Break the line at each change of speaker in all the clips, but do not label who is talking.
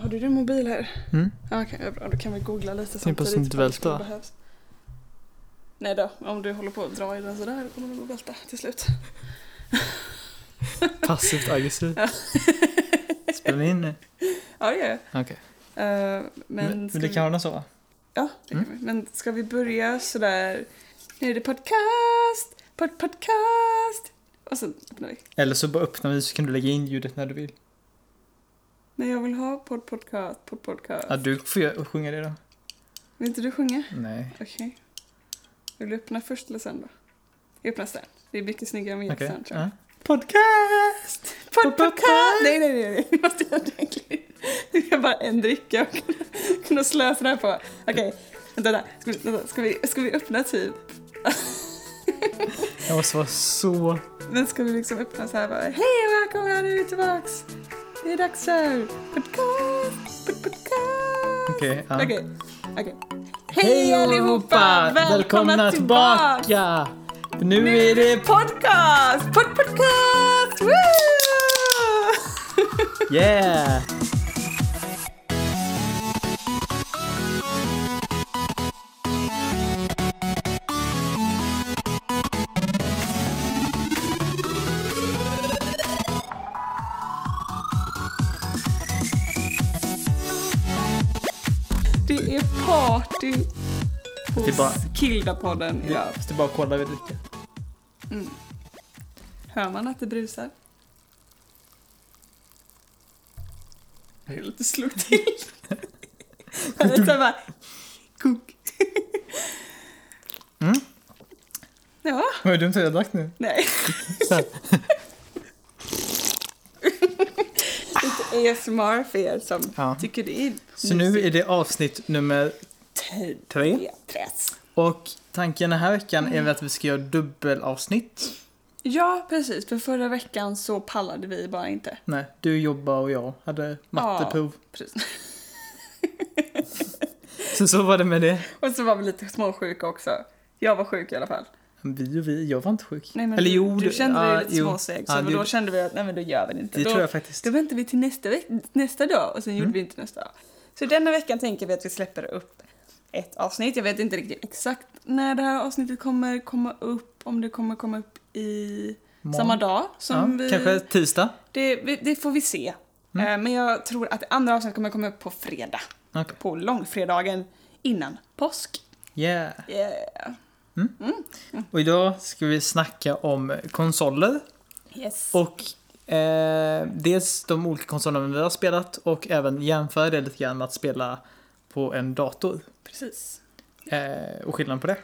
Har du din mobil här?
Mm.
Ja, okej, ja, bra. Då kan vi googla lite
Tänk på att
samtidigt.
inte
ifall det skulle
välta.
behövas. Nej då, om du håller på att dra i den sådär kommer den att välta till slut.
Passivt aggressivt. Spelar ni in nu?
Ja, det gör jag.
Okej.
Eh, men,
Men,
ska
men det
vi-
kan Mm. vara så va?
Ja, det kan vi. Men ska vi börja sådär... Nu är det podcast! Pod podcast! Och sen öppnar vi.
Eller så bara öppnar vi så kan du lägga in ljudet när du vill.
Nej, jag vill ha podd podcast, podd podcast.
Ja, du får ju sjunga det då.
Vill inte du sjunga?
Nej.
Okej. Vill du öppna först eller sen då? Jag öppnar sen. Det är mycket snyggare med
Okej.
sen tror jag.
Ja. Podcast!
Pod podcast! Nej, nej, nej, nej. Vi måste göra det ordentligt. Det är bara en dricka och kunna, kunna slösa det här på. Okej, vänta, vänta. Ska vi, vänta. Ska, vi, ska vi öppna typ?
Jag måste vara så...
Men ska vi liksom öppna så här bara, Hej och välkomna, nu är vi tillbaks! Det är dags för podcast! pod- podcast.
Okej. ja.
Okej, okej. Hej allihopa! Välkomna tillbaka!
Nu, är det...
podcast! Pod podcast! Woo!
Yeah!
Det är party
Det
hos
är bara-
Kildapodden
Det,
idag.
det är bara att kolla vid dricka.
Hör man att det brusar? Jag lite slog till. Jag lät såhär bara... Kunk.
Mm.
Ja,
Vad dumt att jag drack nu.
nej.
Så här.
Lite ASMR för er som
Ja.
tycker det är
Så nu är det avsnitt nummer
Tid.
tre.
Press.
Och tanken den här veckan
Mm.
är väl att vi ska göra dubbelavsnitt.
Ja, precis. För förra veckan så pallade vi bara inte.
Nej, du jobbar och jag hade matteprov.
Precis.
Så så var det med det.
Och så var vi lite småsjuka också. Jag var sjuk i alla fall.
Vi och vi, jag var inte sjuk.
Nej, men
Eller
du,
jo,
du
det-
kände
ja,
dig lite
jo.
småseg, så
Ja, det
då
gjorde-
kände vi att nej men då gör vi det inte.
Det
då,
tror jag faktiskt.
då väntar vi till nästa, veck, nästa dag och sen gjorde
Mm.
vi inte nästa dag. Så denna veckan tänker vi att vi släpper upp ett avsnitt. Jag vet inte riktigt exakt när det här avsnittet kommer komma upp, om det kommer komma upp i
Imorgon.
samma dag som
ja,
vi...
Kanske tisdag?
Det, vi- det får vi se.
Mm.
Eh, Men jag tror att det andra avsnittet kommer komma upp på fredag.
Okej.
På långfredagen innan påsk.
Yeah.
Yeah.
Och idag ska vi snacka om konsoler.
Yes.
Och eh, dels de olika konsolerna vi har spelat och även jämföra det lite grann med att spela på en dator.
Precis.
Eh, och skillnaden på det.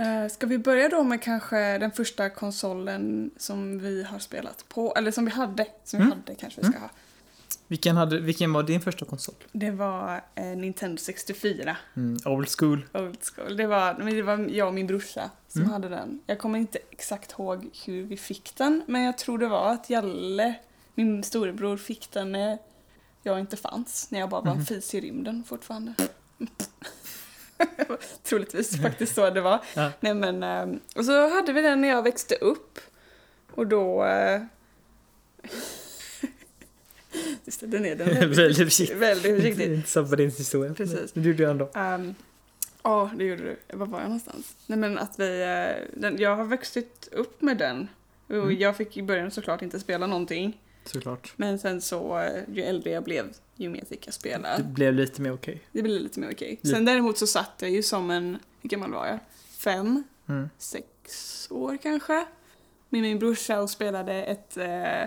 Eh, Ska vi börja då med kanske den första konsolen som vi har spelat på, eller som vi hade, som vi
Mm.
hade kanske vi ska ha.
Vilken, hade, vilken var din första konsol?
Det var eh, Nintendo 64,
Mm, old school.
old school. Det var, men det var jag och min brorsa som
Mm.
hade den. Jag kommer inte exakt ihåg hur vi fick den, men jag tror det var att Jalle, min storebror, fick den när jag inte fanns, när jag bara var
Mhm.
en fis i rymden fortfarande. Troligtvis faktiskt så det var.
Ja.
Nej men, ehm, och så hade vi den när jag växte upp. Och då... eh, Just det, den är den. är
Väldigt försiktigt.
Väldigt
Inte
försiktigt.
inte sabba din historia.
Precis.
Det gjorde jag ändå.
Ehm, Ja, det gjorde du. Var var jag någonstans? Nej men att vi... eh, Den, jag har vuxit upp med den. Och
Mm.
jag fick i början såklart inte spela någonting.
Såklart.
Men sen så, eh, ju äldre jag blev, ju mer fick jag spela.
Det blev lite mer okej.
Det blev lite mer okej.
Lite.
Sen däremot så satt jag ju som en... Hur gammal var jag? Fem?
Mm.
sex år kanske. Med min brorsa och spelade ett, eh,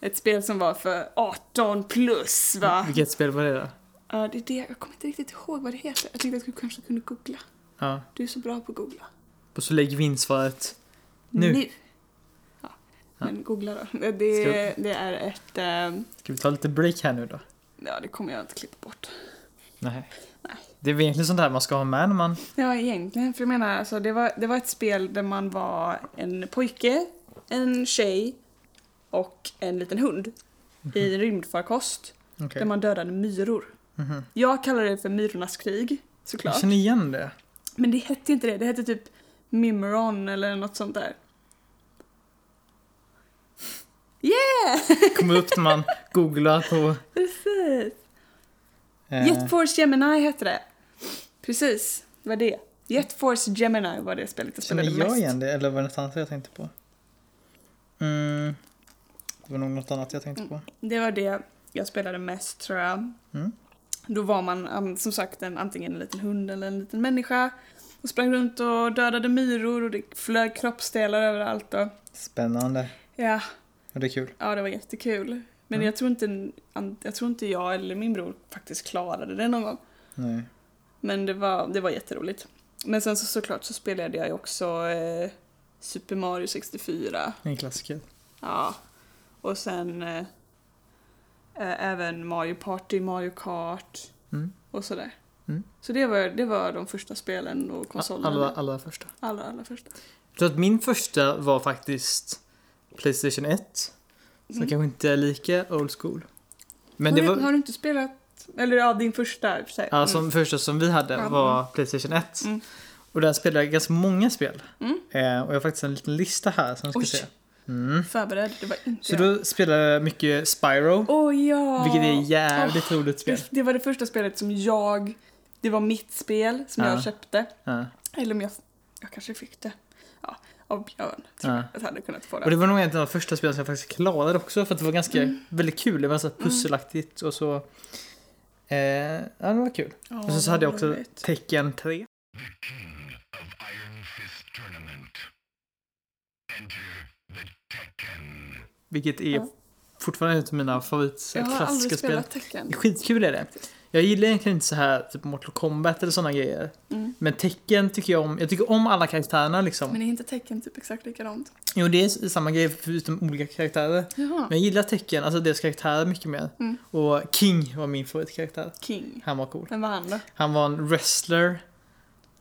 ett spel som var för 18 plus va?
Mm, Vilket spel var det då?
Ja, det är det. Jag kommer inte riktigt ihåg vad det heter. Jag tänkte att du kanske kunde googla.
Ja.
Du är så bra på att googla.
Och så lägger vi in svaret. Nu.
Ja.
Ja.
Men googla då. Det, det, det är ett... eh,
Ska vi ta lite break här nu då?
Ja, det kommer jag inte klippa bort.
Nej. Det är väl egentligen sånt här man ska ha med när man...
Ja, egentligen. För jag menar, alltså, det, var, det var ett spel där man var en pojke, en tjej och en liten hund. I rymdfarkost.
Mm. Mhm. Okej.
Där man dödade myror.
Mhm.
Jag kallar det för myrornas krig,
Jag
såklart.
känner igen det.
Men det hette inte det, det hette typ Mimron eller något sånt där. Yeah!
Kommer upp när man googlar på...
Precis!
Eh,
Jet Force Gemini hette det. Precis, det var det. Jet Force Gemini var det spelet jag
Känner
spelade
jag
mest.
igen det eller var det något annat jag tänkte på? Mm. Det var nog något annat jag tänkte på.
Det var det jag spelade mest tror jag.
Mm.
Då var man an- som sagt en, antingen en liten hund eller en liten människa. Och sprang runt och dödade myror och det flög kroppsdelar överallt. Och,
Spännande.
ja,
Och det är kul.
ja, det var jättekul. Men
Mm.
jag, tror inte, an- jag tror inte jag eller min bror faktiskt klarade det någon gång.
Nej.
Men det var, det var jätteroligt. Men sen så, såklart så spelade jag ju också eh, Super Mario 64.
En klassiker.
Ja. Och sen eh, eh, även Mario Party, Mario Kart
Mm.
och sådär.
Mm.
Så det var, det var de första spelen och konsolerna.
Alla, alla första.
allra, allra första.
Jag tror att min första var faktiskt Playstation 1. Så
Mm.
kanske inte är lika old school. Men
har,
det
du,
var...
har du inte spelat, eller ja, din första i och för sig. Mm.
Ja, som första som vi hade
Ja,
var Playstation 1.
Mm.
Och där spelade jag ganska många spel.
Mm.
Eh, och jag har faktiskt en liten lista här som jag ska
Oj.
se. Mm.
Mm. Förberedd, det var inte
Så
jag.
då spelade jag mycket Spyro,
Åh ja!
vilket är ett jävligt roligt spel.
Det- Det var det första spelet som jag, det var mitt spel som
Ja.
jag köpte.
Ja,
Eller om jag, jag kanske fick det. Ja, av Björn.
ja.
Att jag hade kunnat få det.
Och det var nog egentligen de första spelen som jag faktiskt klarade också för att det var ganska,
Mm.
väldigt kul. Det var så här pusselaktigt och så... Eh, ja, det var kul.
Ja,
och sen så
vad
hade jag också
roligt.
Tekken 3.
King of Iron Fist Tournament. Enter the Tekken.
Vilket är
Ja.
fortfarande ett av mina
Jag har
favoritklassiska
aldrig
spel.
spelat tecken.
Det är skitkul är det. Jag gillar egentligen inte så här typ Mortal Kombat eller sådana grejer.
Mm.
Men tecken tycker jag om. Jag tycker om alla karaktärerna liksom.
Men är inte tecken typ exakt likadant?
Jo, det är s- samma grej förutom olika karaktärer.
Jaha.
Men jag gillar tecken, alltså deras karaktärer mycket mer.
Mm.
Och King var min favoritkaraktär.
King.
Han var cool.
Vem var han då?
Han var en wrestler.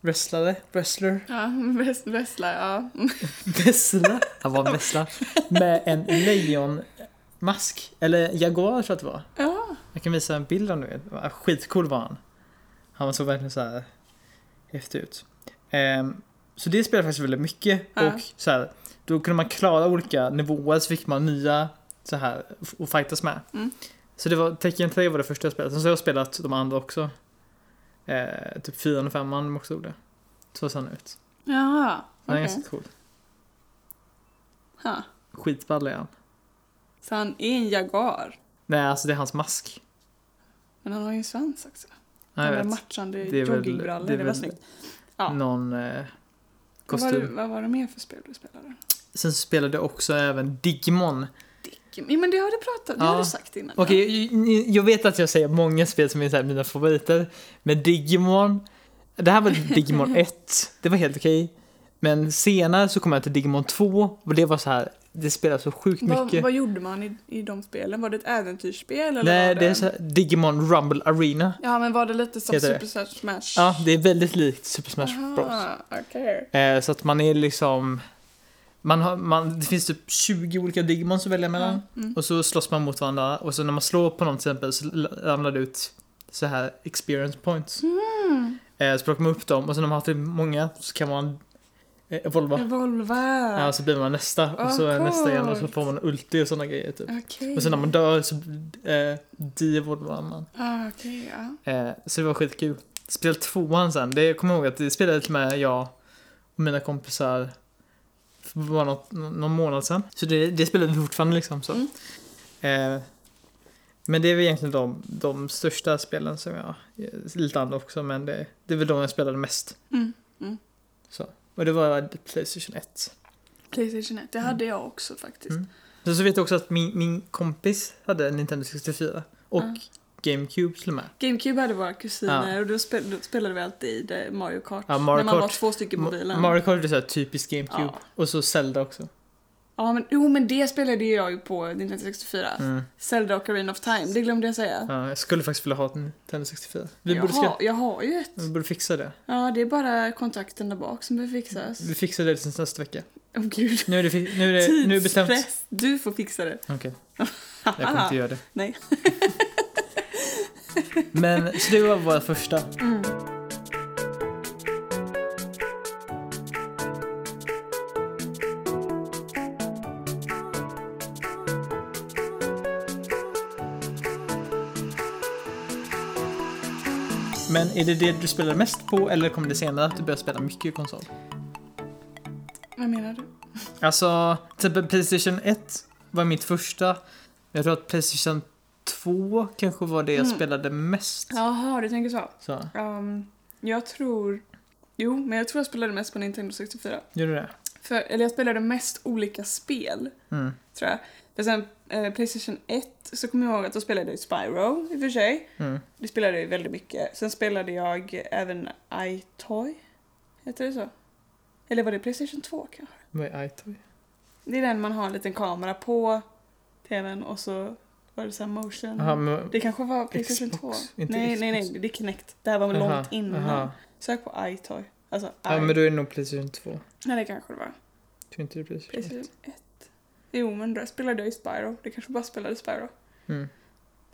Wrestlare? Wrestler?
Ja, wrest- wrestlar, ja. Mm.
Vessla? Han var en vessla. Med en lejonmask. Eller jaguar tror jag att det var.
Ja,
Jag kan visa en bild om du vill. Skitcool var han. Han såg verkligen så här häftig ut. Ehm, så det spelade jag faktiskt väldigt mycket.
Ja.
Och så här, då kunde man klara olika nivåer så fick man nya så här f- att fightas med.
Mm.
Så det var, Tekken 3 var det första jag spelade. Sen så har jag spelat de andra också. Eh, typ 4 och 5 de också gjorde. Så ser han ut.
jaha.
Han är
Okej.
ganska cool.
Ha.
Skitball är han.
Så han är en jaguar.
Nej, alltså det är hans mask.
Men han har ju en svans också.
Ja,
han
jag
har
vet.
matchande
Det är väl-
joggingbrallor, det,
det är
var
väl
snyggt. Ja.
Någon eh,
Vad var, det,
kostym.
vad var det mer för spel du spelade?
Sen så spelade jag också även Digimon.
Dick. Ja, men det har du pratat, det
Ja.
har du sagt innan.
Okej, jag- jag vet att jag säger många spel som är så här mina favoriter. Men Digimon. Det här var Digimon 1. Det var helt okej. Men senare så kom jag till Digimon 2. Och det var så här. Det spelar så sjukt
Vad,
mycket.
vad gjorde man i, i de spelen? Var det ett äventyrsspel? Eller var
Nej, det är så här, Digimon Rumble Arena.
Ja, men var det lite som
Heter det?
Super Smash Smash?
Ja, det är väldigt likt Super Smash
Aha,
Bros.
okej.
Eh, så att man är liksom... Man har, man, det finns typ 20 olika Digimons att välja mellan.
Ja, mm.
Och så slåss man mot varandra och så när man slår på någon till exempel så l- ramlar det ut så här experience points.
Mm.
Eh, så plockar man upp dem och sen när man har typ många så kan man eh, evolva.
Revolver.
Ja, så blir man nästa och så
Ah,
är nästa igen och så
coolt.
får man ulti och sådana grejer typ.
Okej.
Och sen när man dör så eh, de-evolvar man.
Ah, okej, ja.
Eh, så det var skitkul. Spel tvåan sen, det jag kommer ihåg att det spelade till och med jag och mina kompisar för bara något, någon månad sen. Så det, det spelade vi fortfarande liksom så.
Mm.
Eh, men det är väl egentligen de, de största spelen som jag, lite andra också, men det, det är väl de jag spelade mest.
Mm, mm.
Så. Och det var Playstation 1.
Playstation 1, det hade jag också faktiskt.
Mm. Sen så vet jag också att min, min kompis hade en Nintendo 64 och
Ja.
GameCube till och med.
GameCube hade våra kusiner och då, spel, då spelade vi alltid eh, Mario Kart.
Ja, Mario
när man var
Kart.
två stycken på bilen.
Mario Kart är så här typiskt GameCube.
Ja.
Och så Zelda också.
ja, men, jo, men det spelade ju jag ju på Nintendo 64.
Mm.
Zelda och Arena of Time, det glömde jag säga.
Ja, jag skulle faktiskt vilja ha ett Nintendo 64. Vi
jag,
borde, ska,
har, jag har ju ett.
vi borde fixa det.
Ja, det är bara kontakten där bak som behöver fixas.
Vi fixar det till nästa vecka.
Åh gud.
Nu är det, fi- nu är det, nu är det bestämt.
Tidspress. Du får fixa det.
Okej, jag kommer inte göra det.
Nej.
Men, så det var vår första.
Mm.
Men är det det du spelar mest på eller kommer det senare att du börjar spela mycket konsol?
Vad menar du?
Alltså, till exempel Playstation 1 var mitt första. Jag tror att Playstation 2 kanske var det jag
Mm.
spelade mest.
Jaha, du tänker så.
Så,
Ehm, jag tror... Jo, men jag tror jag spelade mest på Nintendo 64.
gör du det?
För, eller jag spelade mest olika spel,
Mm.
tror jag. För sen eh, Playstation 1 så kommer jag ihåg att då spelade jag Spyro, i och för sig.
Mm.
Det spelade jag ju väldigt mycket. Sen spelade jag även iToy. Heter det så? Eller var det Playstation 2 kanske?
Vad är iToy?
Det är den man har en liten kamera på tvn och så var det så här motion.
Jaha, men...
Mm. Det kanske var Playstation
Xbox,
2?
inte
nej, nej,
Xbox.
nej, det är Kinect. Det här var
Aha,
långt innan.
aha.
Sök på iToy. Alltså,
Ja,
i.
men då är det nog Playstation 2. Jag
Nej, det kanske det var.
tror inte det är Playstation 1.
Playstation 1. Jo, men där spelade jag ju Spyro. Det kanske bara spelade Spyro.
Mm.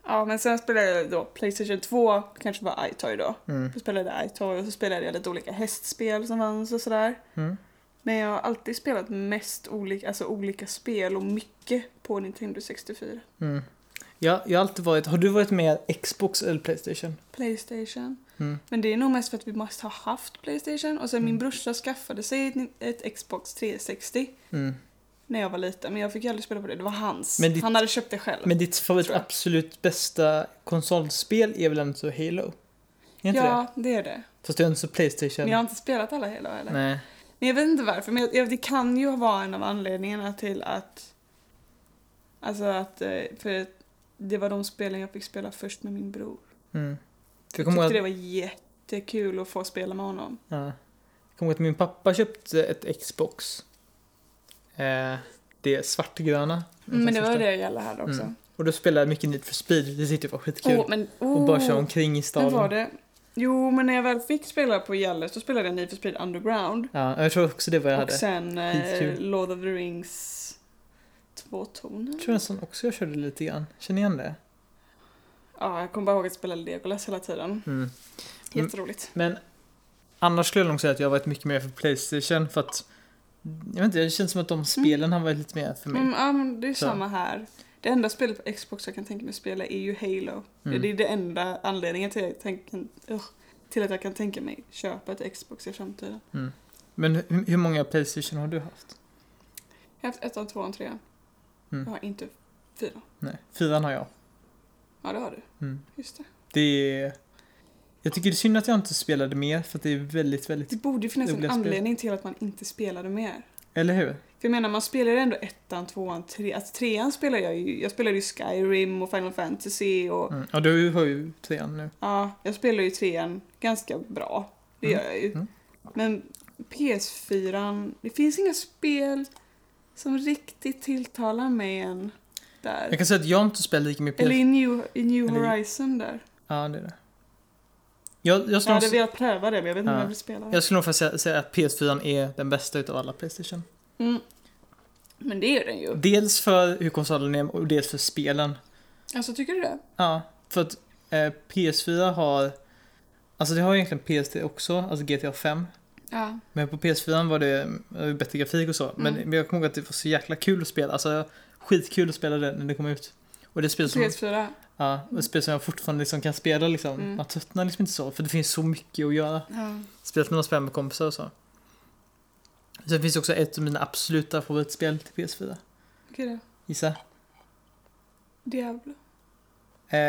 Ja, men sen spelade jag då Playstation 2, kanske var iToy då.
Mm.
Då spelade jag iToy och så spelade jag lite olika hästspel som fanns och sådär.
Mm.
Men jag har alltid spelat mest olika, alltså olika spel och mycket på Nintendo 64.
Mm. Jag, jag har alltid varit... Har du varit med Xbox eller Playstation?
Playstation.
Mm.
Men det är nog mest för att vi måste ha haft Playstation och sen
Mm.
min brorsa skaffade sig ett, ett Xbox 360
Mm.
när jag var liten men jag fick ju aldrig spela på det, det var hans.
Men ditt-
Han hade köpt det själv.
Men ditt favorit
Tror jag.
absolut bästa konsolspel är väl ändå så Halo? Är inte det?
ja, det? är det.
Fast du är inte så Playstation.
Men jag har inte spelat alla hela heller.
Nej.
Men jag vet inte varför, men jag, jag, det kan ju vara en av anledningarna till att... Alltså att... eh, För det var de spelen jag fick spela först med min bror.
Mm. För jag
Jag
kommer
tyckte
ihåg
det
att,
var jättekul att få spela med honom.
ja. jag kommer ihåg att min pappa köpte ett Xbox. Eh, det svartgröna.
Mm, men det var
Första.
det jag hade också.
Mm. Och då spelade jag mycket Need for Speed. Det tyckte jag var skitkul.
Åh, men,
Och bara köra
åh.
omkring i
Men
staden.
var det? Jo, men när jag väl fick spela på Gäller så spelade jag Need for Speed Underground.
Ja, jag tror också det var jag
och
hade.
sen eh,
Skitkul.
Lord of the Rings tvåtonen.
Jag tror nästan också jag körde lite grann. Känner igen det?
Ja, jag kommer bara ihåg att spela Legolas hela tiden.
Mm.
Jätteroligt.
Men annars skulle jag nog säga att jag har varit mycket mer för Playstation för att jag vet inte, det känns som att de spelen har varit lite mer för mig.
Mm, ja, men det är
Så.
samma här. Det enda spelet på Xbox jag kan tänka mig spela är ju Halo.
Mm.
Det är det enda anledningen till, att jag tänker- ugh, till att jag kan tänka mig köpa ett Xbox i framtiden.
Men hur, hur många Playstation har du haft?
Jag har haft ettan, tvåan, trean.
Mm.
Jag har inte fyra.
Nej, fyran har jag.
Ja, det har du.
Mm.
Just det.
Det är... Jag tycker det är synd att jag inte spelade mer för att det är väldigt, väldigt...
Det borde ju finnas en
Roliga spel.
anledning till att man inte spelade mer.
Eller hur?
För jag menar, man spelar ju ändå ettan, tvåan, trean. Alltså trean spelar jag ju. Jag spelade ju Skyrim och Final Fantasy och...
Mm. Ja, du har ju trean nu.
Ja, jag spelar ju trean ganska bra. Det
Mm.
gör jag ju.
Mm.
Men PS4, det finns inga spel som riktigt tilltalar mig än där.
Jag kan säga att jag inte spelar lika mycket
Eller
Playstation.
i New, i New
Eller i-
Horizon där.
Ja, det är det. Jag, jag,
Jag
skulle,
hade
nog,
velat pröva det men jag vet inte om
Ja.
jag vill spela det.
jag skulle nog faktiskt säga, säga att PS4 är den bästa utav alla Playstation.
Mm. Men det är den ju.
Dels för hur konsolen är och dels för spelen.
Alltså tycker du det?
Ja, för att eh, PS4 har... Alltså det har ju egentligen PS3 också, alltså GTA 5.
Ja.
Men på PS4 var det eh, bättre grafik och så. Men
Mm.
men jag kommer ihåg att det var så jäkla kul att spela. Alltså skitkul att spela det när det kom ut. Och det är spel som,
PS4?
ja, och spel som jag fortfarande liksom kan spela liksom.
Mm.
Man tröttnar liksom inte så, för det finns så mycket att göra.
Ja.
Speciellt när man spelar med kompisar och så. Sen finns det också ett av mina absoluta favoritspel till PS4.
Okej då.
Gissa?
Diablo.
Eh,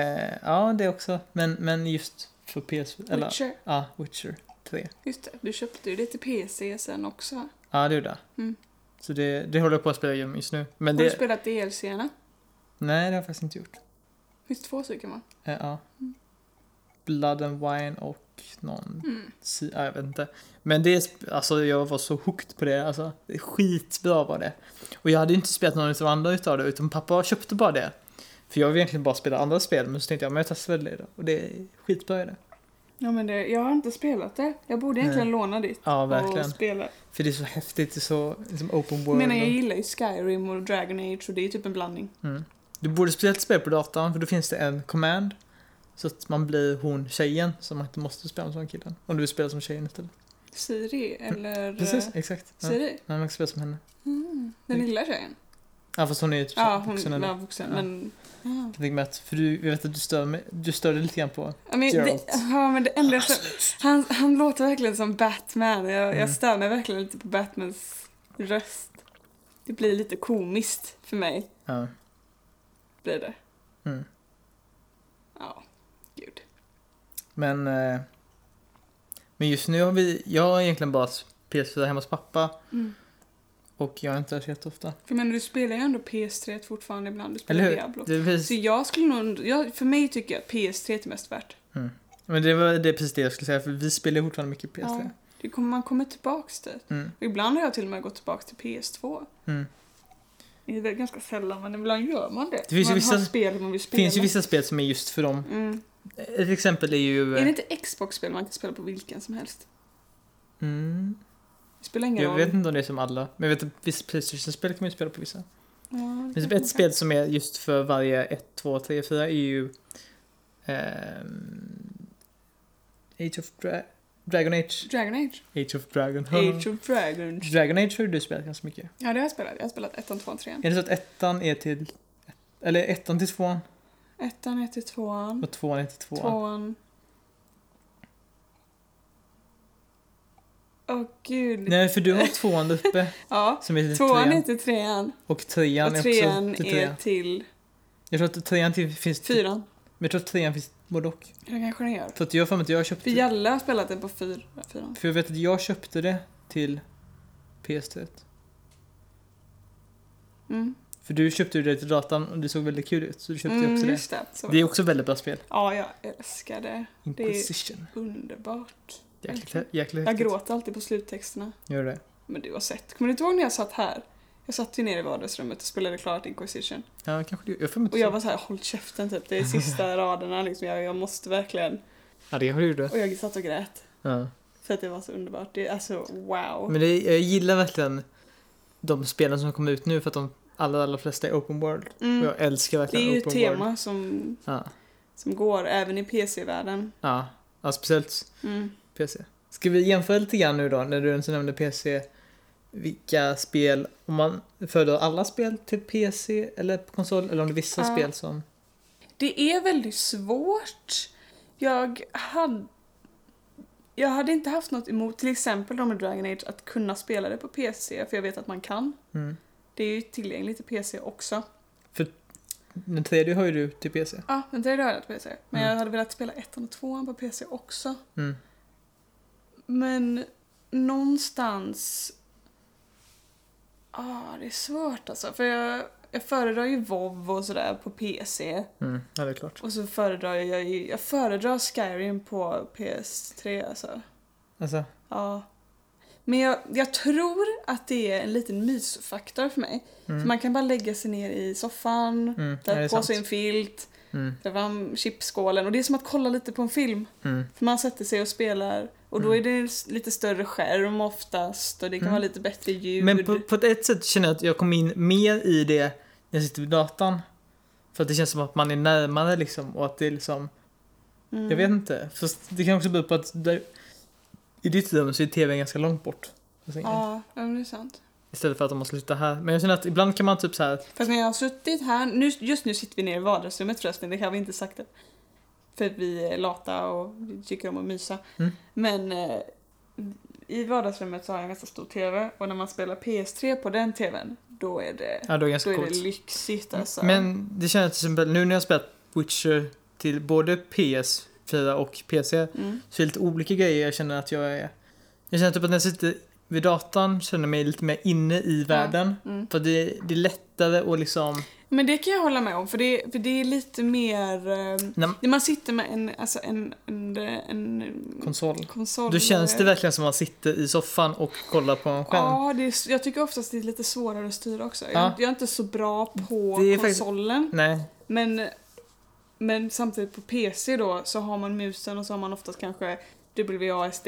ja, det också. Men, men just för PS4. Eller,
Witcher.
ja, Witcher 3.
Just det, du köpte ju det till PC sen också. va?
Ja, det gjorde jag.
Mm.
Så det, det håller jag på att spela igenom just nu.
Har
Men
du
det,
spelat DLC-erna?
nej, det har jag faktiskt inte gjort.
Finns två stycken va?
Eh, ja.
Mm.
Blood and Wine och någon...
Mm.
si- Ja, jag vet inte. Men det, är sp- alltså jag var så hooked på det. Alltså, det är skitbra var det. Och jag hade ju inte spelat någon utav andra utav det, utan pappa köpte bara det. För jag vill egentligen bara spela andra spel, men så tänkte jag, men jag testar väl det då. Och det är skitbra i det.
Ja men det, jag har inte spelat det. Jag borde egentligen låna ditt.
Ja,
Och
verkligen.
spela.
För det är så häftigt, det är så liksom open
Jag
world.
menar jag
och-
gillar ju Skyrim och Dragon Age och det är typ en blandning.
Mm. Du borde speciellt spela på datorn för då finns det en command. Så att man blir hon tjejen som man inte måste spela som killen. Om du vill spela som tjejen istället.
Siri eller...
Precis,
eh,
exakt. Ja.
Siri?
Ja, Man kan spela som henne.
Mm. Den lilla tjejen?
Ja fast hon är ju typ
Ja,
vuxen
hon var
ändå.
vuxen.
Ja.
Men, ja.
Jag tänker mig att, för du, jag vet att du stör, mig, du stör dig lite grann på
Ja, men, det,
Geralt.
ja, men det ändrar sig. Han, han låter verkligen som Batman. Jag,
Mm.
jag stör mig verkligen lite på Batmans röst. Det blir lite komiskt för mig.
Ja.
Blir det.
Mm.
Ja, gud.
Men, eh, men just nu har vi, jag har egentligen bara PS4 hemma hos pappa
Mm.
och jag är inte där så jätteofta.
För men du spelar ju ändå PS3 fortfarande ibland. Du spelar
Eller hur?
Diablo.
Det är
Så
precis,
jag skulle nog... Jag, för mig tycker jag att PS3 är det mest värt.
men det var det är precis det jag skulle säga för vi spelar fortfarande mycket PS3.
Det kommer, man kommer tillbaks till.
Mm,
Och ibland har jag till och med gått tillbaks till PS2.
mm.
Det är väl ganska sällan, men ibland gör man det.
Det finns ju
man
vissa-
har spel man vill
Det
spela.
finns ju vissa spel som är just för dem.
Mm.
Ett exempel är ju... eh,
Är det inte Xbox-spel man kan spela på vilken som helst?
mm,
Det spelar ingen
jag
roll.
vet inte om det är som alla, men jag vet att vissa Playstation-spel kan man ju spela på vissa.
Ja, det
Men typ
kanske man
ett spel som är just för varje 1, 2, 3, 4 är ju... ehm, Age of Dra- Dragon Age.
kan. Dragon Age.
Age of Dragon.
Age of Dragons.
Dragon Age har ju du spelat ganska mycket.
Ja, det har jag spelat. Jag har spelat ettan, tvåan, trean.
Är det så att ettan är till... Eller ettan till tvåan
Ettan är till tvåan.
och tvåan är till tvåan?
Tvåan. Åh gud.
Nej, för du har tvåan uppe
Ja.
som är till
Tvåan är
trean.
till trean.
Och trean
Och
är
trean
också till
är
trean.
till
Jag tror att trean till finns... till-
fyran.
Men jag tror att trean finns både och.
Det kanske den gör.
För att jag har för mig att jag köpte...
För Jalle har spelat den på fyra, fyran.
För jag vet att jag köpte det till PS3.
Mm.
För du köpte ju det till datan och det såg väldigt kul ut så du köpte ju
Mm,
också det.
just det. Så.
Det är också väldigt bra spel.
Ja, jag älskar det. är-
Inquisition.
Underbart.
Jäkligt, hä- jäkligt
Jag
häftigt.
gråter alltid på sluttexterna.
Gör det?
Men du har sett. Kommer du inte ihåg när jag satt här? Jag satt ju nere i vardagsrummet och spelade klart Inquisition.
Ja, kanske du Jag har för mig
Och
inte
jag
så.
var så här, håll käften typ. Det är sista raderna liksom. Jag, jag måste verkligen.
Ja, det har du gjort.
Och jag satt och grät.
Ja.
För att det var så underbart. Det är alltså wow.
Men det, jag gillar verkligen de spelen som kommer ut nu för att de allra, allra flesta är open world. Och
Mm.
jag älskar
Det
verkligen
är ju ett
open world.
tema som,
Ja.
som går även i PC-världen.
Ja. ja, speciellt
Mm.
PC. Ska vi jämföra lite grann nu då, när du ens nämnde PC. Vilka spel, om man föredrar alla spel till PC eller på konsol, eller om det är vissa
Ja.
spel som...
Det är väldigt svårt. Jag hade... Jag hade inte haft något emot till exempel de i Dragon Age att kunna spela det på PC för jag vet att man kan.
Mm.
Det är ju tillgängligt i PC också.
Den tredje har ju du till PC.
Ja, men det har jag på PC. Men
Mm.
jag hade velat spela ettan och tvåan på PC också.
Mm.
Men någonstans... Ah, det är svårt alltså. För jag, jag föredrar ju WoW och sådär på PC.
Mm. Ja, det är klart.
Och så föredrar jag ju... Jag föredrar Skyrim på PS3 alltså.
Alltså,
Ja. Men jag, jag tror att det är en liten mysfaktor för mig.
mm.
För man kan bara lägga sig ner i soffan,
Mm. Ja, det
ta på
är sant.
sig en filt,
Mm.
dra fram chipsskålen. Och det är som att kolla lite på en film.
Mm.
För man sätter sig och spelar och då är det s- lite större skärm oftast och det kan
Mm.
vara lite bättre ljud.
Men på, på ett sätt känner jag att jag kom in mer i det när jag sitter vid datan. För att det känns som att man är närmare liksom och att det är liksom,
Mm.
jag vet inte. Fast det kan också bero på att där, i ditt rum så är tvn ganska långt bort. från sängen.
Ja, ja, men det är sant.
Istället för att de måste sitta här. Men jag känner att ibland kan man typ så här,
Fast när jag har suttit här, nu, just nu sitter vi nere i vardagsrummet förresten, det har vi inte sagt det. För vi är lata och vi tycker om att mysa.
Mm.
Men eh, i vardagsrummet så har jag en ganska stor TV och när man spelar PS3 på den TVn, då är det,
ja det är
då
ganska
är det
coolt. Mm.
lyxigt alltså.
Men det känns till exempel nu när jag spelat Witcher till både PS4 och PC
Mm.
Så det är lite olika grejer jag känner att jag är. Jag känner typ att när jag sitter vid datorn känner jag mig lite mer inne i världen.
Mm.
För det, det är lättare och liksom...
Men det kan jag hålla med om, för det, för det är lite mer... ehm,
Nej,
När man sitter med en, alltså en, en, en, en
konsol.
konsol.
Då känns det verkligen som att man sitter i soffan och kollar på en skärm.
Ja, det är, s- jag tycker oftast det är lite svårare att styra också. Jag,
Ja.
jag är inte så bra på
Det är faktiskt-
konsolen.
Nej.
Men, men samtidigt på PC då så har man musen och så har man oftast kanske WASD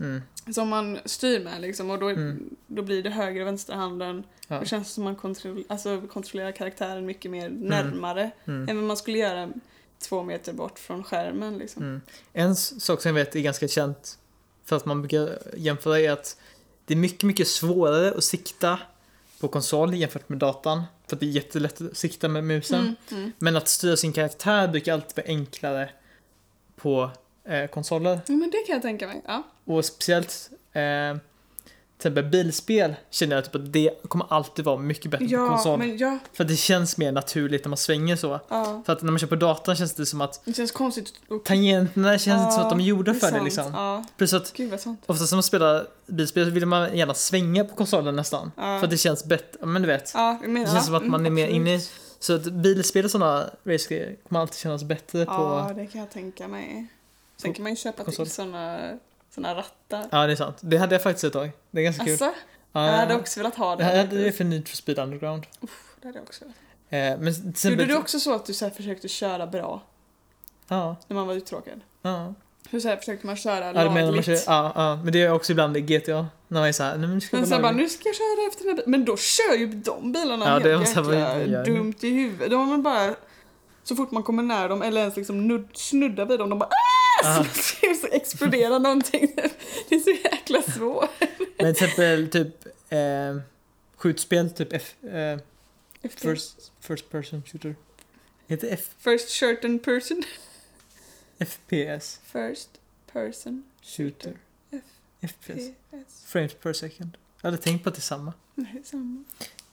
Mm.
som man styr med liksom och då,
Mm.
då blir det höger och vänsterhanden.
Ja.
Det känns som man kontroll, alltså, kontrollerar karaktären mycket mer närmare
Mm.
än vad man skulle göra två meter bort från skärmen liksom.
Mm. En s- sak som jag vet är ganska känt för att man brukar jämföra är att det är mycket, mycket svårare att sikta på konsol jämfört med datan. För att det är jättelätt att sikta med musen.
Mm, mm.
Men att styra sin karaktär brukar alltid vara enklare på eh, konsoler.
Ja, men det kan jag tänka mig. Ja.
Och speciellt eh, till exempel bilspel känner jag typ att det kommer alltid vara mycket bättre på
Ja,
konsol.
men ja,
För att det känns mer naturligt när man svänger så.
ja.
För att när man kör på datorn känns det som att
Det känns konstigt och
tangenterna känns inte som att de är gjorda
Det är
för det
sant.
liksom.
Ja,
Plus att
gud vad sant.
Oftast när man spelar bilspel så vill man gärna svänga på konsolen nästan.
Ja.
För att det känns bättre, ja, men du vet.
Ja, jag menar,
Det känns som att man är mer inne i... Så att bilspel och sådana racergrejer kommer alltid kännas bättre
Ja,
på...
det kan jag tänka mig. Sen
på
kan man ju köpa
konsol.
till såna, såna rattar.
Ja, det är sant. Det hade jag faktiskt ett tag. Det är ganska kul.
Alltså,
Ja,
jag hade också velat ha
jag
det.
hade det för Need for Speed Underground.
Det hade jag också velat.
Eh, men till
Gjorde
exempel...
du också så att du så här försökte köra bra
Ja,
när man var uttråkad?
ja.
Hur så här försökte man köra
Ja, du menar man
lagligt?
kör, ja, ja. Men det gör jag också ibland i GTA. När man är såhär, nej men nu ska
Men
jag
sen bara,
bara...
nu ska jag köra efter den här bilen. Men då kör ju de bilarna
Ja,
helt
det måste jag vara
jäkla
gör.
dumt i huvudet. De har man bara, så fort man kommer nära dem eller ens liksom nudd, snuddar vid dem, de bara ah!
Ah.
Så, så exploderar någonting. Det är så jäkla svårt.
Men till exempel typ... Eh, skjutspel, typ F... Eh, first, first person shooter. Heter det F,
First shirt and person.
FPS?
First person.
Shooter. FPS.
PS.
Frames per second. Jag hade tänkt på att det är samma.
Nej, samma.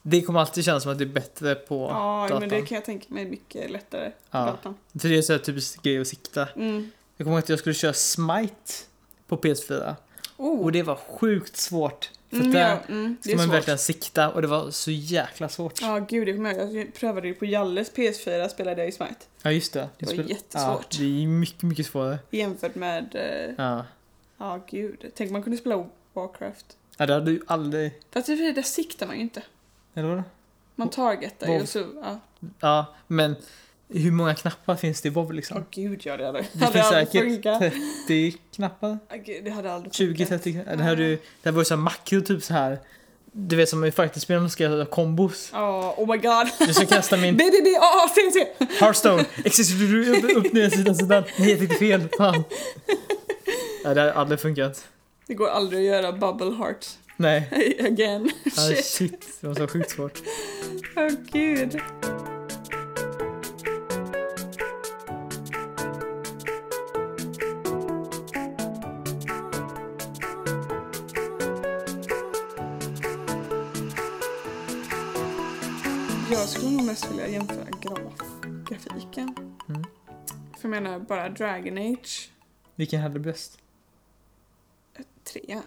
Det kommer alltid kännas som att det är bättre på
Ja,
datan.
men det kan jag tänka mig är mycket lättare. på
Ja.
Datan.
För det är så här typiskt grej att sikta.
Mm.
Jag kommer ihåg att jag skulle köra Smite på PS4.
Oh,
Och det var sjukt svårt. För
mm,
där
ja, mm, det
ska
är
man
svårt.
verkligen sikta och det var så jäkla svårt. Ja,
Ja, gud, jag kommer ihåg. Jag prövade ju på Jalles PS4, spelade jag i Smite.
just det.
Det var
spel-
jättesvårt.
Ja, det är mycket, mycket svårare.
Jämfört med... eh,
Ja.
Ja, gud. Tänk man kunde spela Warcraft.
ja, det hade du aldrig...
Fast i och för sig, där siktar man ju inte.
Eller vadå?
Man targetar ju
Wow.
och så... Ja.
Ja, men hur många knappar finns det i WoW liksom?
Åh, gud, ja, det hade,
Det
hade
finns
aldrig
säkert
funkat.
30 knappar.
Ja, gud, det hade aldrig
20,
funkat.
30 knappar. Det här, är ju- det här var ju så här makro typ så här. Du vet som i fighterspelen ska göra kombos.
Ja, oh my god.
Du ska kasta min
BBB, A, C, C.
Hearthstone. Existerar du upp, upp ner sidan sidan? Nej, jag tyckte fel. Fan. Ja, det hade aldrig funkat.
Det går aldrig att göra bubble heart
Nej.
again.
Ah,
Shit.
shit, det var så sjukt svårt.
Åh gud. Jag skulle nog mest vilja jämföra graf, grafiken.
Mm.
För jag menar bara Dragon Age
Vilken hade bäst?
3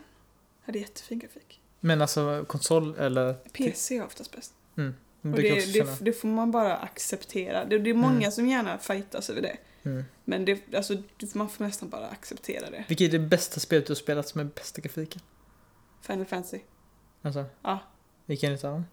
hade jättefin grafik.
Men alltså konsol eller?
PC är oftast bäst.
Mm, Det
Och
kan jag
det,
också känna.
det, det får man bara acceptera. Det, det är många
Mm.
som gärna fightas över det.
Mm.
Men det, alltså, det- man får nästan bara acceptera det.
Vilket är det bästa spelet du har spelat som är bästa grafiken?
Final Fantasy.
Alltså,
Ja.
vilken utav dem?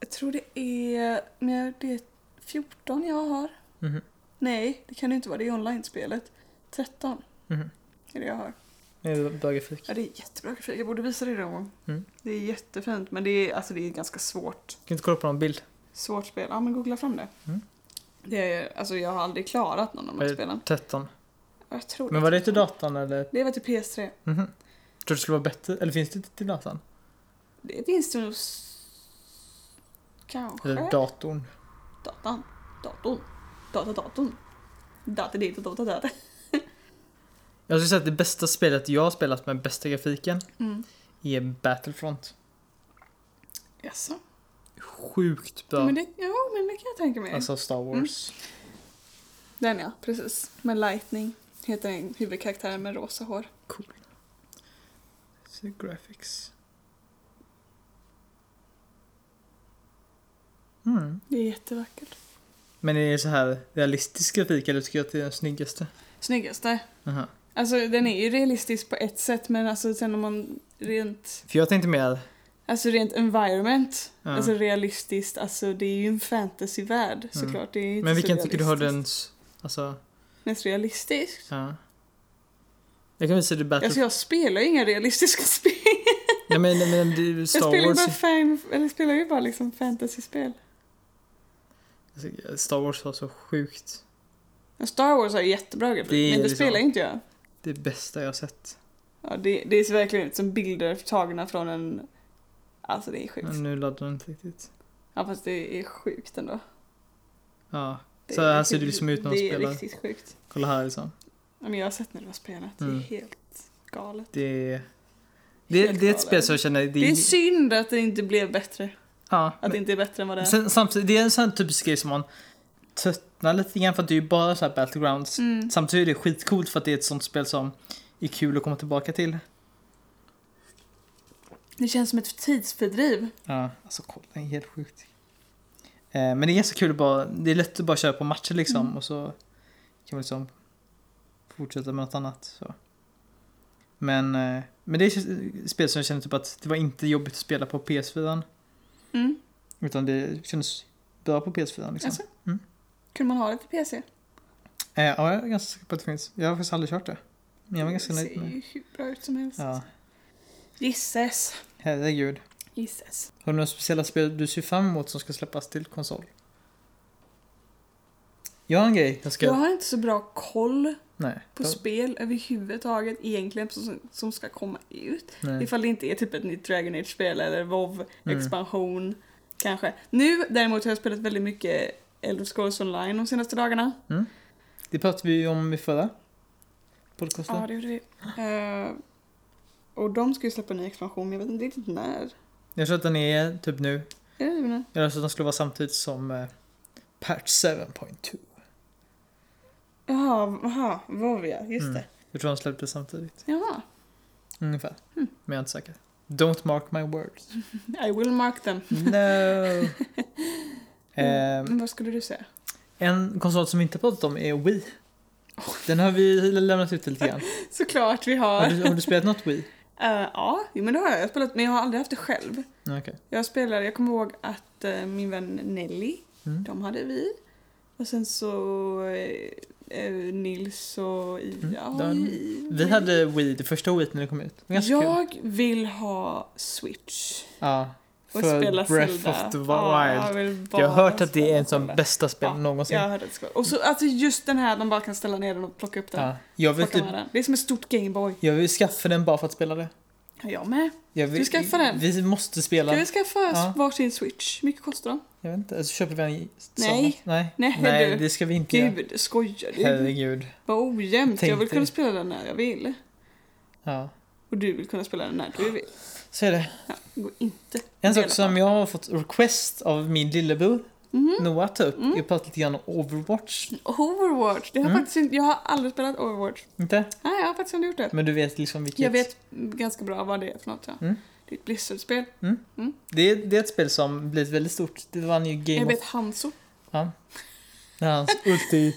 Jag tror det är... Nej, det är 14 jag har.
Mhm.
Nej, det kan det inte vara. Det är online-spelet. 13
Mhm.
är det jag har.
Det är bra grafik.
Ja, det är jättebra grafik. Jag borde visa dig det någon gång.
Mm.
Det är jättefint, men det är, alltså, det är ett ganska svårt,
Kan inte kolla på någon bild?
svårt spel. Ja, men googla fram det.
Mm.
det är, alltså, jag har aldrig klarat någon av de
Är
här
det
spelen.
13.
Ja, Jag tror
Men var det till
13.
datan eller?
Det var till PS3.
Mhm. Tror du det skulle vara bättre? Eller finns det till datan?
Det finns det nog... s- Kanske.
Eller datorn?
Datan. Datorn. Data, datorn. Data, data, data, data.
Jag skulle säga att det bästa spelet jag har spelat med bästa grafiken
Mm.
är Battlefront.
Jaså?
Sjukt bra.
Men det, Mm. ja, men det kan jag tänka mig.
Alltså Star Wars.
Den ja, precis. Med Lightning heter den huvudkaraktären med rosa hår.
Cool. Så graphics. Mm.
Det är jättevackert.
Men är det så här realistisk grafik eller tycker du att det är den snyggaste?
Snyggaste.
Aha.
Alltså den är ju realistisk på ett sätt men alltså sen om man rent,
För jag tänkte mer...
alltså rent environment,
Ja.
alltså realistiskt, alltså det är ju en fantasyvärld såklart. Det är ju inte
Mm.
så
men vilken tycker du har
realistiskt.
den... s- Alltså...
mest realistiskt?
Ja. Jag kan visa dig Battle...
Alltså jag spelar ju inga realistiska spel.
Nej men, nej, men det är ju
Jag
Star
spelar ju
Wars...
bara, fan, eller spelar ju bara liksom fantasyspel.
Alltså, Star Wars var så sjukt.
Men Star Wars har ju jättebra
Det är
grafik, men det
liksom-
spelar ju inte jag.
Det bästa jag har sett.
Ja, det, det ser verkligen ut som bilder tagna från en Alltså det är sjukt.
Men nu laddar den inte riktigt.
Ja fast det är sjukt ändå.
Ja.
Det
Så
är
här ser
sjukt.
det liksom ut när de
Det är
spelar.
riktigt sjukt.
Kolla här liksom.
Ja, men jag har sett när det var spelat. Det
Mm.
är helt galet.
Det är... Det,
Helt
det är ett
galet.
spel som jag känner... Det
Det är
är,
synd att det inte blev bättre.
ja,
Att det inte är bättre än vad det
men,
är.
sen, samtidigt, det är en sån här typisk grej som man tröttnar lite grann för att det är ju bara så här battlegrounds.
Mm.
Samtidigt är det skitcoolt för att det är ett sånt spel som är kul att komma tillbaka till.
Det känns som ett tidsfördriv.
Ja, alltså kolla, det är helt sjukt. Eh, men det är ganska kul att bara, det är lätt att bara köra på matcher liksom
Mm.
och så kan man liksom fortsätta med något annat. Så. Men, eh, men det är ett spel som jag känner typ att det var inte jobbigt att spela på PS4.
Mm.
Utan det kändes bra på PS4 liksom.
Alltså?
Mm.
Kunde man ha det till PC?
Eh, ja, jag är ganska säker på att det finns. Jag har faktiskt aldrig kört det. Men jag var ganska nöjd med
Det
det.
ser ju hur bra ut som helst.
Ja,
Gisses.
herregud.
Gisses.
Har du några speciella spel du ser fram emot som ska släppas till konsol? Jag har en grej jag ska...
Jag har inte så bra koll
Nej.
på spel överhuvudtaget egentligen som, som ska komma ut.
Nej.
Ifall det inte är typ ett nytt Dragon Age-spel eller wow
Mm.
expansion kanske. Nu däremot har jag spelat väldigt mycket Elder Scrolls online de senaste dagarna.
Det pratade vi ju om i förra podcasten.
Ja, det gjorde vi. Eh, och de ska ju släppa en ny expansion, men jag vet inte riktigt när.
Jag tror att den är typ nu.
Är det nu?
Jag tror att den skulle vara samtidigt som eh, Patch 7.2.
Jaha, aha, var vi ja, just
Mm.
det.
Jag tror de släppte samtidigt.
Jaha.
Ungefär.
Hm.
Men jag är inte säker. Don't mark my words.
I will mark them. Oh.
No! Ehm,
Men vad skulle du säga?
En konsol som vi inte pratat om är Wii. Den har vi lämnat ut lite grann.
Såklart vi har.
Har du, har du spelat något Wii?
Eh, ja, jo, men det har jag. jag har spelat, men jag har aldrig haft det själv.
Nej, Okej.
Jag spelar, jag kommer ihåg att eh, min vän Nelly,
Mm.
de hade vi. Och sen så eh, eh, Nils och Iva
Mm,
har
den-
ju i-
Vi hade Wii, det första Wii när det kom ut. Det var ganska kul.
Jag vill ha Switch.
Ja.
Och
För
spela
Breath
Zelda.
of the Wild.
Ja, jag, vill
Jag
bara
har hört att det är
spela
en som
Zelda.
bästa spel
Ja,
någonsin.
Jag har hört att det ska vara. Och så alltså just den här, man bara kan ställa ner den och plocka upp den.
Ja. Jag, vill
Plocka
typ,
med den. Det är som ett stort Gameboy.
jag vill skaffa den bara för att spela det.
Ja, jag med.
Jag vill,
Du skaffar den?
Vi måste spela.
Ska vi skaffa
Ja.
varsin Switch? Hur mycket kostar de?
Jag vet inte, så köper vi en
Nej.
sån. Nej.
Nej, du.
det ska vi inte göra.
Gud, skojar du?
Herregud.
Vad ojämnt.
Tänk
Jag vill
dig.
kunna spela den när jag vill.
Ja.
Och du vill kunna spela den när du vill.
Så är det.
Ja, det går inte.
En
Dela
sak som
på.
jag har fått request av min lillebror
Mhm.
Noah tar upp. Jag pratade lite grann om Overwatch.
Overwatch. Det har
Mm.
faktiskt inte, jag har aldrig spelat Overwatch.
Inte?
Nej, jag har faktiskt inte gjort det.
Men du vet liksom vilket.
Jag vet ganska bra vad det är för något. Ja.
Mm.
Det är ett Blizzard-spel.
Det, är, det är ett spel som blivit väldigt stort. Det vann ju
Jag
Game
vet
of...
Hanzo.
Ja. När hans ulti...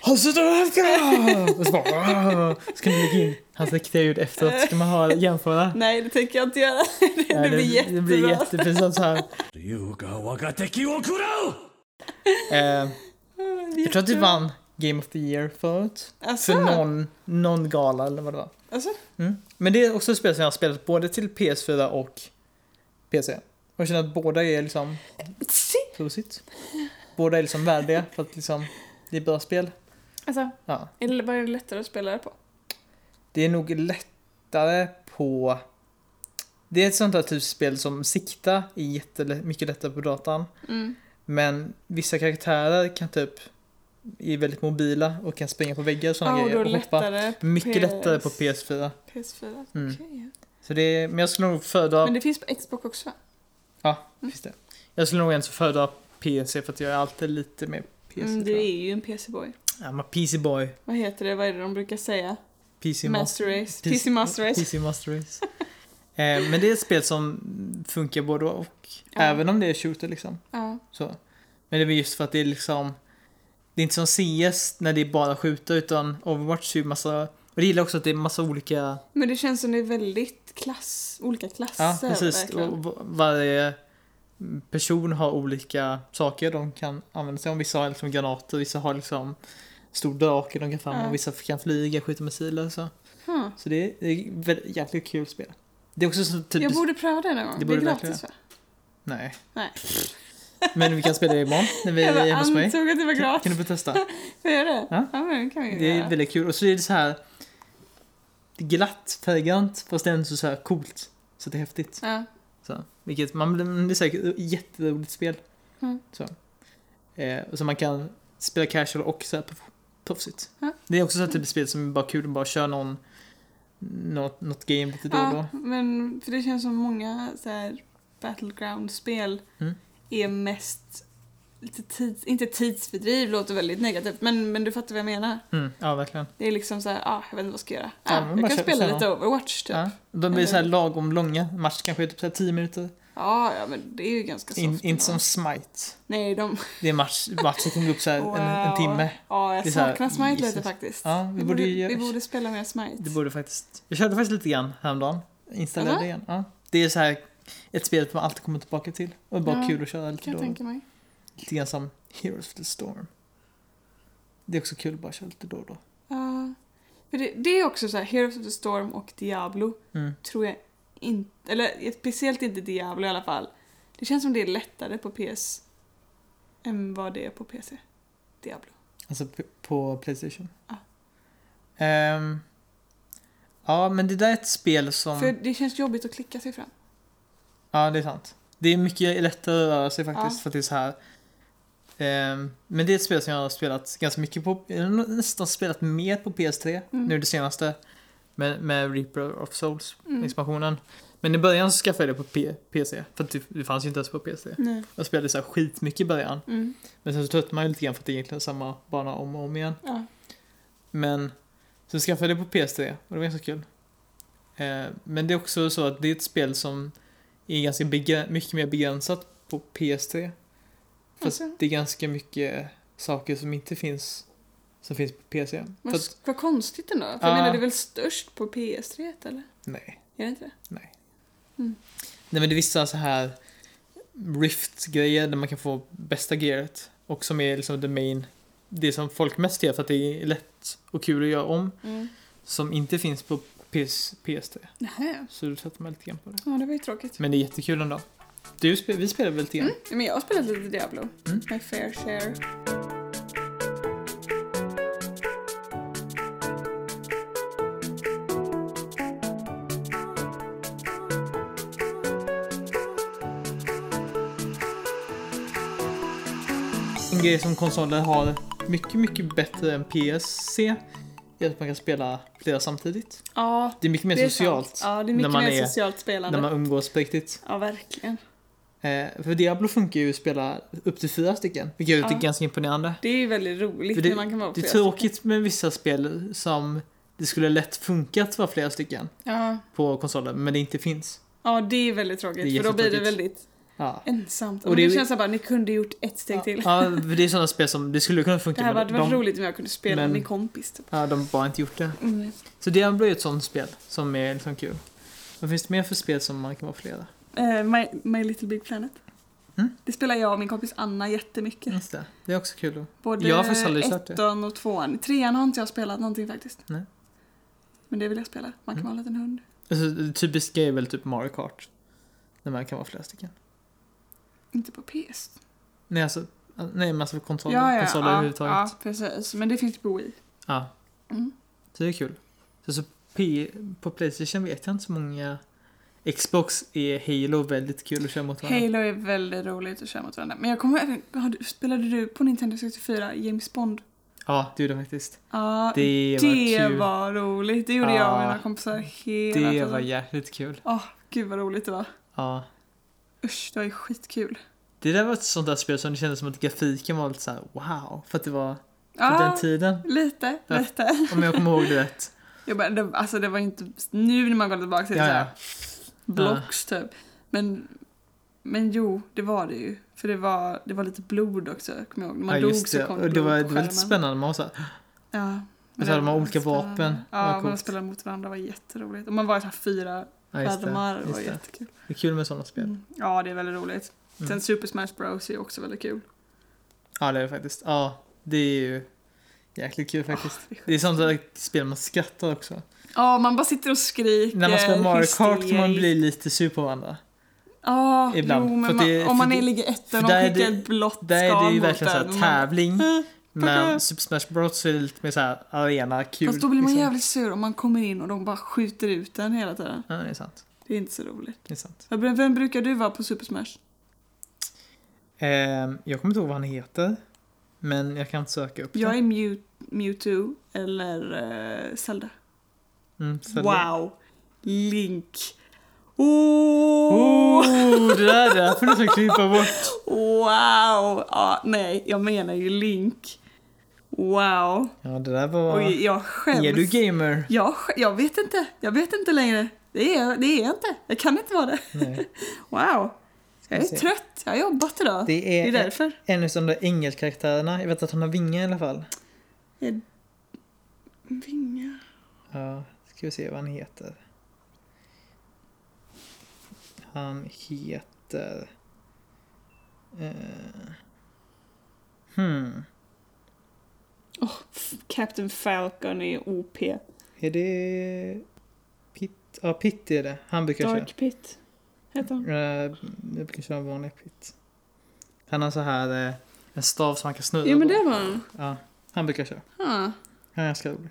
Han sitter och älskar! Och så bara... "Åh!" Ska ni lägga in hans riktiga ljud efteråt? Ska man ha jämföra?
Nej, det tänker jag inte göra. Det,
Nej,
blir jättebra.
Det blir jättepinsamt så här.
竜が我が敵を食らう
Eh, jag tror att du
Ah, Jättebra.
vann Game of the Year förut.
Alltså,
För någon, någon gala eller vad det var.
alltså,
Mm. Men det är också ett spel som jag har spelat både till PS4 och PC. Och jag känner att båda är liksom...
si.
Prosit. Båda är liksom värdiga för att liksom... Det är bra spel.
alltså,
Ja.
eller vad är det lättare att spela det på?
Det är nog lättare på... Det är ett sånt där typ spel som sikta är jättemycket lättare på datan.
Mm.
Men vissa karaktärer kan typ... Är väldigt mobila och kan springa på väggar och såna
Ja, och
grejer
då
och hoppa.
lättare på
Mycket
PS
lättare på PS4.
PS4.
Mm.
okej.
Så det är, men jag skulle nog föredra...
Men det finns på Xbox också.
Finns det. Jag skulle nog ens föredra PC för att jag är alltid lite mer PC.
Mm,
Mm,
du är ju en PC-boy.
I'm a PC boy.
Vad heter det? Vad är det de brukar säga?
PC
Master Race. PC Master Race.
PC Master Race. eh, men det är ett spel som funkar både och.
Ja.
Även om det är shooter liksom.
Ja.
Så. Men det är väl just för att det är liksom... Det är inte som CS när det är bara skjuta utan Overwatch är ju massa... Och det gillar också att det är massa olika...
Men det känns som det är väldigt klass, olika klasser.
Ja, precis.
verkligen.
Och va- varje person har olika saker de kan använda sig av. Vissa har liksom granater, vissa har liksom stor drake de kan fram
Ja.
och vissa kan flyga, skjuta missiler och så.
Huh.
Så det är, det är väl- jäkligt kul spel. Det är också så
Jag
typ...
borde pröva det någon gång.
Det
Det,
borde
är
du
gratis va?
Nej.
Nej.
Men vi kan spela det imorgon när vi
Jag
är
bara
hos mig.
antog att det var
Kan, kan
gratis.
du få testa?
Får jag göra det?
Ja.
men det kan vi ju
Det är
göra.
väldigt kul. Och så är det så här glatt, färggrant, fast ändå så här coolt. Så det är häftigt.
Ja.
Så, vilket man, det är säkert ett jätteroligt spel.
Mm.
Så. Eh, och så man kan spela casual och så här proff- proffsigt.
Ja.
Det är också så här typ av spel som är bara kul att bara köra någon, något, något game lite då och då.
Ja, men för det känns som många så här battleground-spel
Mm.
är mest lite tids, inte tidsfördriv låter väldigt negativt men, men du fattar vad jag menar.
Mm, ja, verkligen.
Det är liksom så här, ah, jag vet inte vad jag ska göra.
Ja,
Ah,
men bara
jag kan
kör-
spela
kör
lite Overwatch typ. Ja.
Ja. De blir
Eller-
så här lagom långa. Match kanske är typ så här 10 minuter.
ja, men det är ju ganska soft.
In, inte som
ändå.
Smite.
Nej, de...
Det är match, matchen kommer upp så här en, en
Wow.
timme.
Ja,
Det är
jag
så här,
saknar Smite lite
Jesus.
faktiskt.
Ja, vi
vi,
borde
borde,
ju göra-
vi borde spela mer Smite.
Det borde faktiskt. Jag körde faktiskt lite grann häromdagen. Installerade
Jaha.
det igen. Ja. Det är så här ett spel som man alltid kommer tillbaka till. Och bara
Ja,
kul att köra lite
kan
då.
jag
och då.
tänka mig.
Lite grann som Heroes of the Storm. Det är också kul att bara köra lite då och då.
Ja. för det, det är också så här, Heroes of the Storm och Diablo
Mm.
tror jag inte, eller speciellt inte Diablo i alla fall. Det känns som det är lättare på PS än vad det är på PC. Diablo.
Alltså p- på Playstation.
Ja.
Ehm, ja, men det där är ett spel som...
För det känns jobbigt att klicka sig fram.
Ja, det är sant. Det är mycket lättare att röra sig faktiskt
Ja.
för att det är så här. Ehm, men det är ett spel som jag har spelat ganska mycket på, jag har nästan spelat mer på PS3
Mm.
nu det senaste. Med, med Reaper of Souls,
Mm.
expansionen. Men i början så skaffade jag det på P- PC, för att det, det fanns ju inte ens på PC.
Nej.
Jag spelade så här skitmycket i början,
Mm.
men sen så tröttnade man ju lite grann för att det är egentligen samma bana om och om igen.
Ja.
Men så skaffade jag det på PS3 och det var ganska kul. Eh, men det är också så att det är ett spel som är ganska begrä- mycket mer begränsat på PS3. Fast
Okej.
det är ganska mycket saker som inte finns som finns på PC. För
Vad,
att,
vad konstigt ändå. För jag
Ja.
menar, det är väl störst på PS3 eller?
nej.
Är det inte det?
nej, men det är vissa så här Rift-grejer där man kan få bästa gearet och som är liksom the main, det som folk mest gör för att det är lätt och kul att göra om
Mm.
som inte finns på PS, PS3.
Nähä.
Så du tröttnar mig lite grann på det.
Ja, det var ju tråkigt.
Men det är jättekul ändå. Du, spe- vi spelar väl lite grann?
Mm. Men jag har spelat lite Diablo.
Mm.
My fair share. Mm.
En grej som konsoler har mycket, mycket bättre än PSC är att man kan spela flera samtidigt.
Ja,
Det är mycket mer
det är
socialt
sant. Ja, det är
när
mycket
man
mer
är-
socialt spelande.
när man umgås på riktigt.
Ja, verkligen.
Eh, för Diablo funkar ju att spela upp till fyra stycken, vilket jag tycker är
Ja.
ganska imponerande.
Det är ju väldigt roligt
För det-
när man kan vara
Det är
flera
tråkigt med vissa spel som det skulle lätt funka att vara flera stycken
stycken. Ja.
på konsolen, men det inte finns.
ja, det är väldigt
Det är
tråkigt. för då blir det
jättetråkigt.
väldigt
Ja.
ensamt.
Och
Och det,
det-
känns som bara, ni kunde gjort ett steg till.
Ja, för det är sådana spel som det skulle kunna funka
Det här
men
hade varit
de,
roligt om jag kunde spela
men-
med min kompis. Typ.
ja, de har bara inte gjort det.
Mm.
Så Diablo är ett sånt spel som är liksom kul. Vad finns det mer för spel som man kan vara flera?
Eh, my, my Little Big Planet.
Mm.
Det spelar jag och min kompis Anna jättemycket.
Just det, det är också kul.
Både
Jag har faktiskt aldrig kört det.
ettan och tvåan. Trean har inte jag spelat någonting faktiskt.
Nej.
Men det vill jag spela. Man kan
Mm.
vara en liten hund.
Alltså, typiskt grej är väl typ Mario Kart. När man kan vara flera stycken.
Inte på PS.
Nej, alltså, nej men alltså konsoler, konsoler överhuvudtaget.
ja,
Ja.
precis. Men det finns ju på Wii. Mm.
Så det är kul. Så, så P- på Playstation vet jag inte så många. Xbox är Halo väldigt kul att köra mot varandra.
Halo är väldigt roligt att köra mot varandra. Men jag kommer även... har du- Spelade du på Nintendo 64 James Bond?
Ja, det gjorde jag faktiskt.
Ja, det,
Det var kul.
var roligt. Det gjorde jag och
Ja,
mina kompisar hela
det
tiden.
var jäkligt kul.
Gud vad roligt det var.
Ja.
Usch, det var ju skitkul.
Det där var ett sånt där spel som det kändes som att grafiken var lite såhär wow. För att det var på
Ja,
den tiden.
lite,
Ja.
lite.
Om jag kommer ihåg det rätt.
Jag bara, det, alltså det var inte... Nu när man går tillbaka till det
Ja,
så
ja.
här, blocks typ. Men, men jo, det var det ju. För det var, det var lite blod också, kommer jag ihåg. När man
ja,
dog
just
så
det.
kom
Och det
blod
var,
på
det var lite
skärmen.
spännande. Man var såhär,
Ja. men
så hade
det
man
var
olika
spännande.
vapen. Det var
Ja, man
coolt.
spelade mot varandra. Det var jätteroligt. Och man var i så här fyra
ja, just det.
skärmar. Det var
Just det.
jättekul.
det är kul med sådana spel.
Mm. Ja, det är väldigt roligt.
Mm.
Sen Super Smash Bros är ju också väldigt kul.
Ja, det är det faktiskt. Ja, det är ju jäkligt kul faktiskt.
Ah, det är sjukt.
det är sånt där spel man skrattar också.
Ja, man bara sitter och skriker.
När man spelar Mario Kart
hysteriskt.
man blir lite sur på varandra.
Ja,
ibland.
jo,
För
men
att det-
man, om man
för
är
det-
ligger
för
ettan och
där är
skickar
det-
ett blått skal
Där är det ju verkligen
mot
såhär
den, och man-
tävling.
Mm.
Men Super Smash Bros är lite mer såhär arena, kul.
Fast då blir man
liksom.
jävligt sur om man kommer in och de bara skjuter ut den hela tiden.
Ja, det är sant.
Det är inte så roligt.
Det är sant.
Vem vem brukar du vara på Super Smash?
Ehm, jag kommer inte ihåg vad han heter. Men jag kan söka upp
Jag
det.
är Mew, Mewtwo eller eh, Zelda.
Mm, Zelda.
Wow! Link. Oh!
Oh, det där är därför du ska klippa bort.
Wow! Ja, nej, jag menar ju Link. Wow.
Ja, det där var...
Oj, jag skäms.
är du gamer?
jag, sk- jag vet inte. Jag vet inte längre. Det är, jag- det är jag inte. Jag kan inte vara det.
Nej.
Wow. Jag är
vi se.
trött. Jag har jobbat idag.
Det
Det är
är
därför.
en av de där ängelkaraktärerna. Jag vet att han har vingar i alla fall.
Jag... Vingar.
Ja, ska vi se vad han heter. Han heter... eh, hmm.
F- Captain Falcon är OP.
Är det... Pitt? Ja, Pitt är det. Han brukar köra.
Dark Pit. Heter han.
Eh, jag brukar köra vanliga Pitt. Han har så här eh, en stav som han kan snurra
Jo men
på.
det var han.
Ja, han brukar köra.
Huh.
Han är ganska rolig.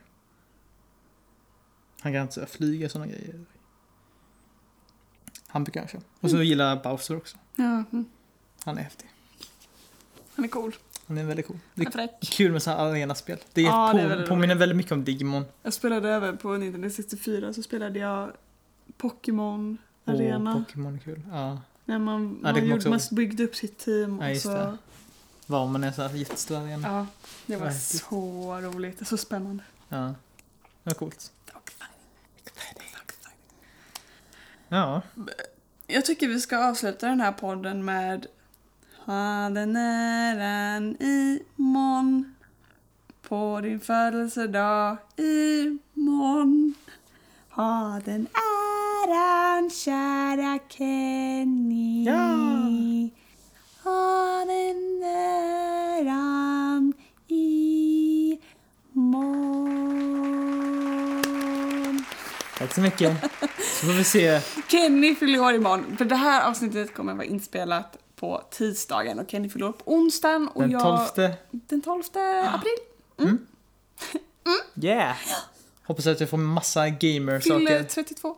Han kan inte flyga och sådana grejer. Han brukar jag köra. Och
Mm.
så gillar jag Bowser också.
Ja. mm.
Han är häftig.
Han är cool.
Han är väldigt cool. Det
Han är
är
fräck.
kul med sådana arenaspel. Det, är
Ja, det är
på,
väldigt
påminner väldigt mycket om Digimon.
Jag spelade även på Nintendo 64 så spelade jag Pokémon Arena.
Och Pokémon är kul. Ja.
när man,
Ja,
man,
det kommer
gjorde,
också
man
ihåg.
byggde upp sitt team
Ja,
och
just
så.
det. Var man är så här jättestor arena.
Ja, det var
Ja, riktigt.
så roligt. och Så spännande.
Ja. Det var coolt. Ja.
Jag tycker vi ska avsluta den här podden med Hade näran imorgon På din födelsedag imorgon Ha den äran kära Kenny
Ja.
Ha den äran imorgon
Tack så mycket. Så får vi se.
Kenny fyller år imorgon. För det här avsnittet kommer vara inspelat på tisdagen och Kenny fyller år på onsdagen. Och
Den
jag,
tolfte. Ah.
Den 12 april.
Yeah! Hoppas att jag får massa
Fyller
gamer-saker.
32.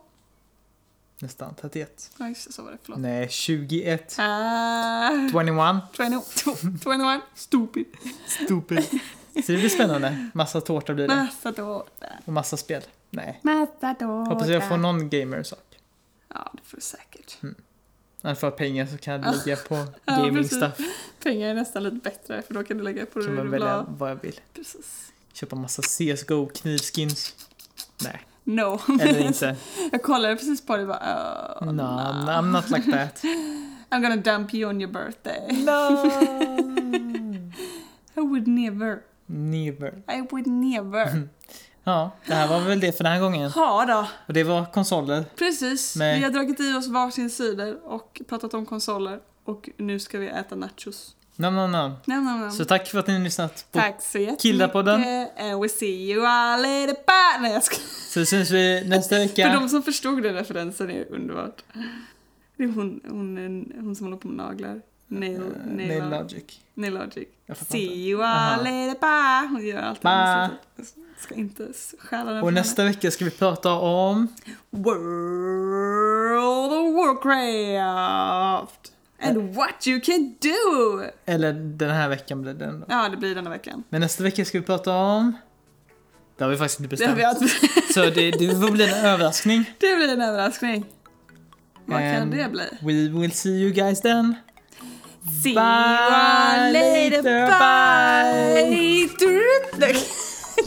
Nästan 31.
Ja, just det, så var det. Förlåt.
Nej, 21.
Ah,
21.
22, 21. Stupid.
Stupid. Så det blir spännande. Massa tårta blir det.
Massa tårta.
Och massa spel. Nej.
Massa tårta.
Hoppas jag får någon gamer-sak.
Ja, det får du säkert.
Annars får jag pengar så kan jag ligga på
Ja,
gaming
precis.
stuff.
Pengar är nästan lite bättre för då kan du lägga på det
Så
du
man
vill
välja
ha.
vad jag vill.
Precis.
Köpa massa CSGO knivskins. Nej,
No.
eller inte.
jag kollade precis på det och bara... Oh,
No, I'm not like that.
I'm gonna dump you on your birthday.
No!
I would never.
Never.
I would never.
Ja, det här var väl det för den här gången.
Ha då.
Och det var konsoler.
Precis.
Nej.
Vi har dragit i oss varsin cider och pratat om konsoler. Och nu ska vi äta nachos.
No, no, no.
Nam, nam, nam.
Så tack för att ni har lyssnat. På.
Tack så jättemycket.
Killapodden.
And we see you all later. Bye. Nej, jag ska...
Så syns vi nästa
För
vecka.
de som förstod den referensen är underbart. Det är hon, hon, hon som håller på med naglar. Nail,
Eh,
nail,
Nail
nail,
Logic.
logic.
Jag fattar
See
inte.
you
Aha.
all later. Bye. Hon gör alltid
Bye.
Jag Ska inte stjäla den
Och
från
nästa vecka ska vi prata om...
World of Warcraft! And what you can do!
Eller den här veckan blir den då.
Ja, det blir denna veckan.
Men nästa vecka ska vi prata om... Det har vi faktiskt inte
Det
bestämt.
blir,
Så det, det får bli en överraskning.
det blir en överraskning. Vad kan
And
det bli?
We will see you guys then.
See
bye later,
Bye! bye.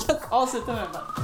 Jag avslutar med det.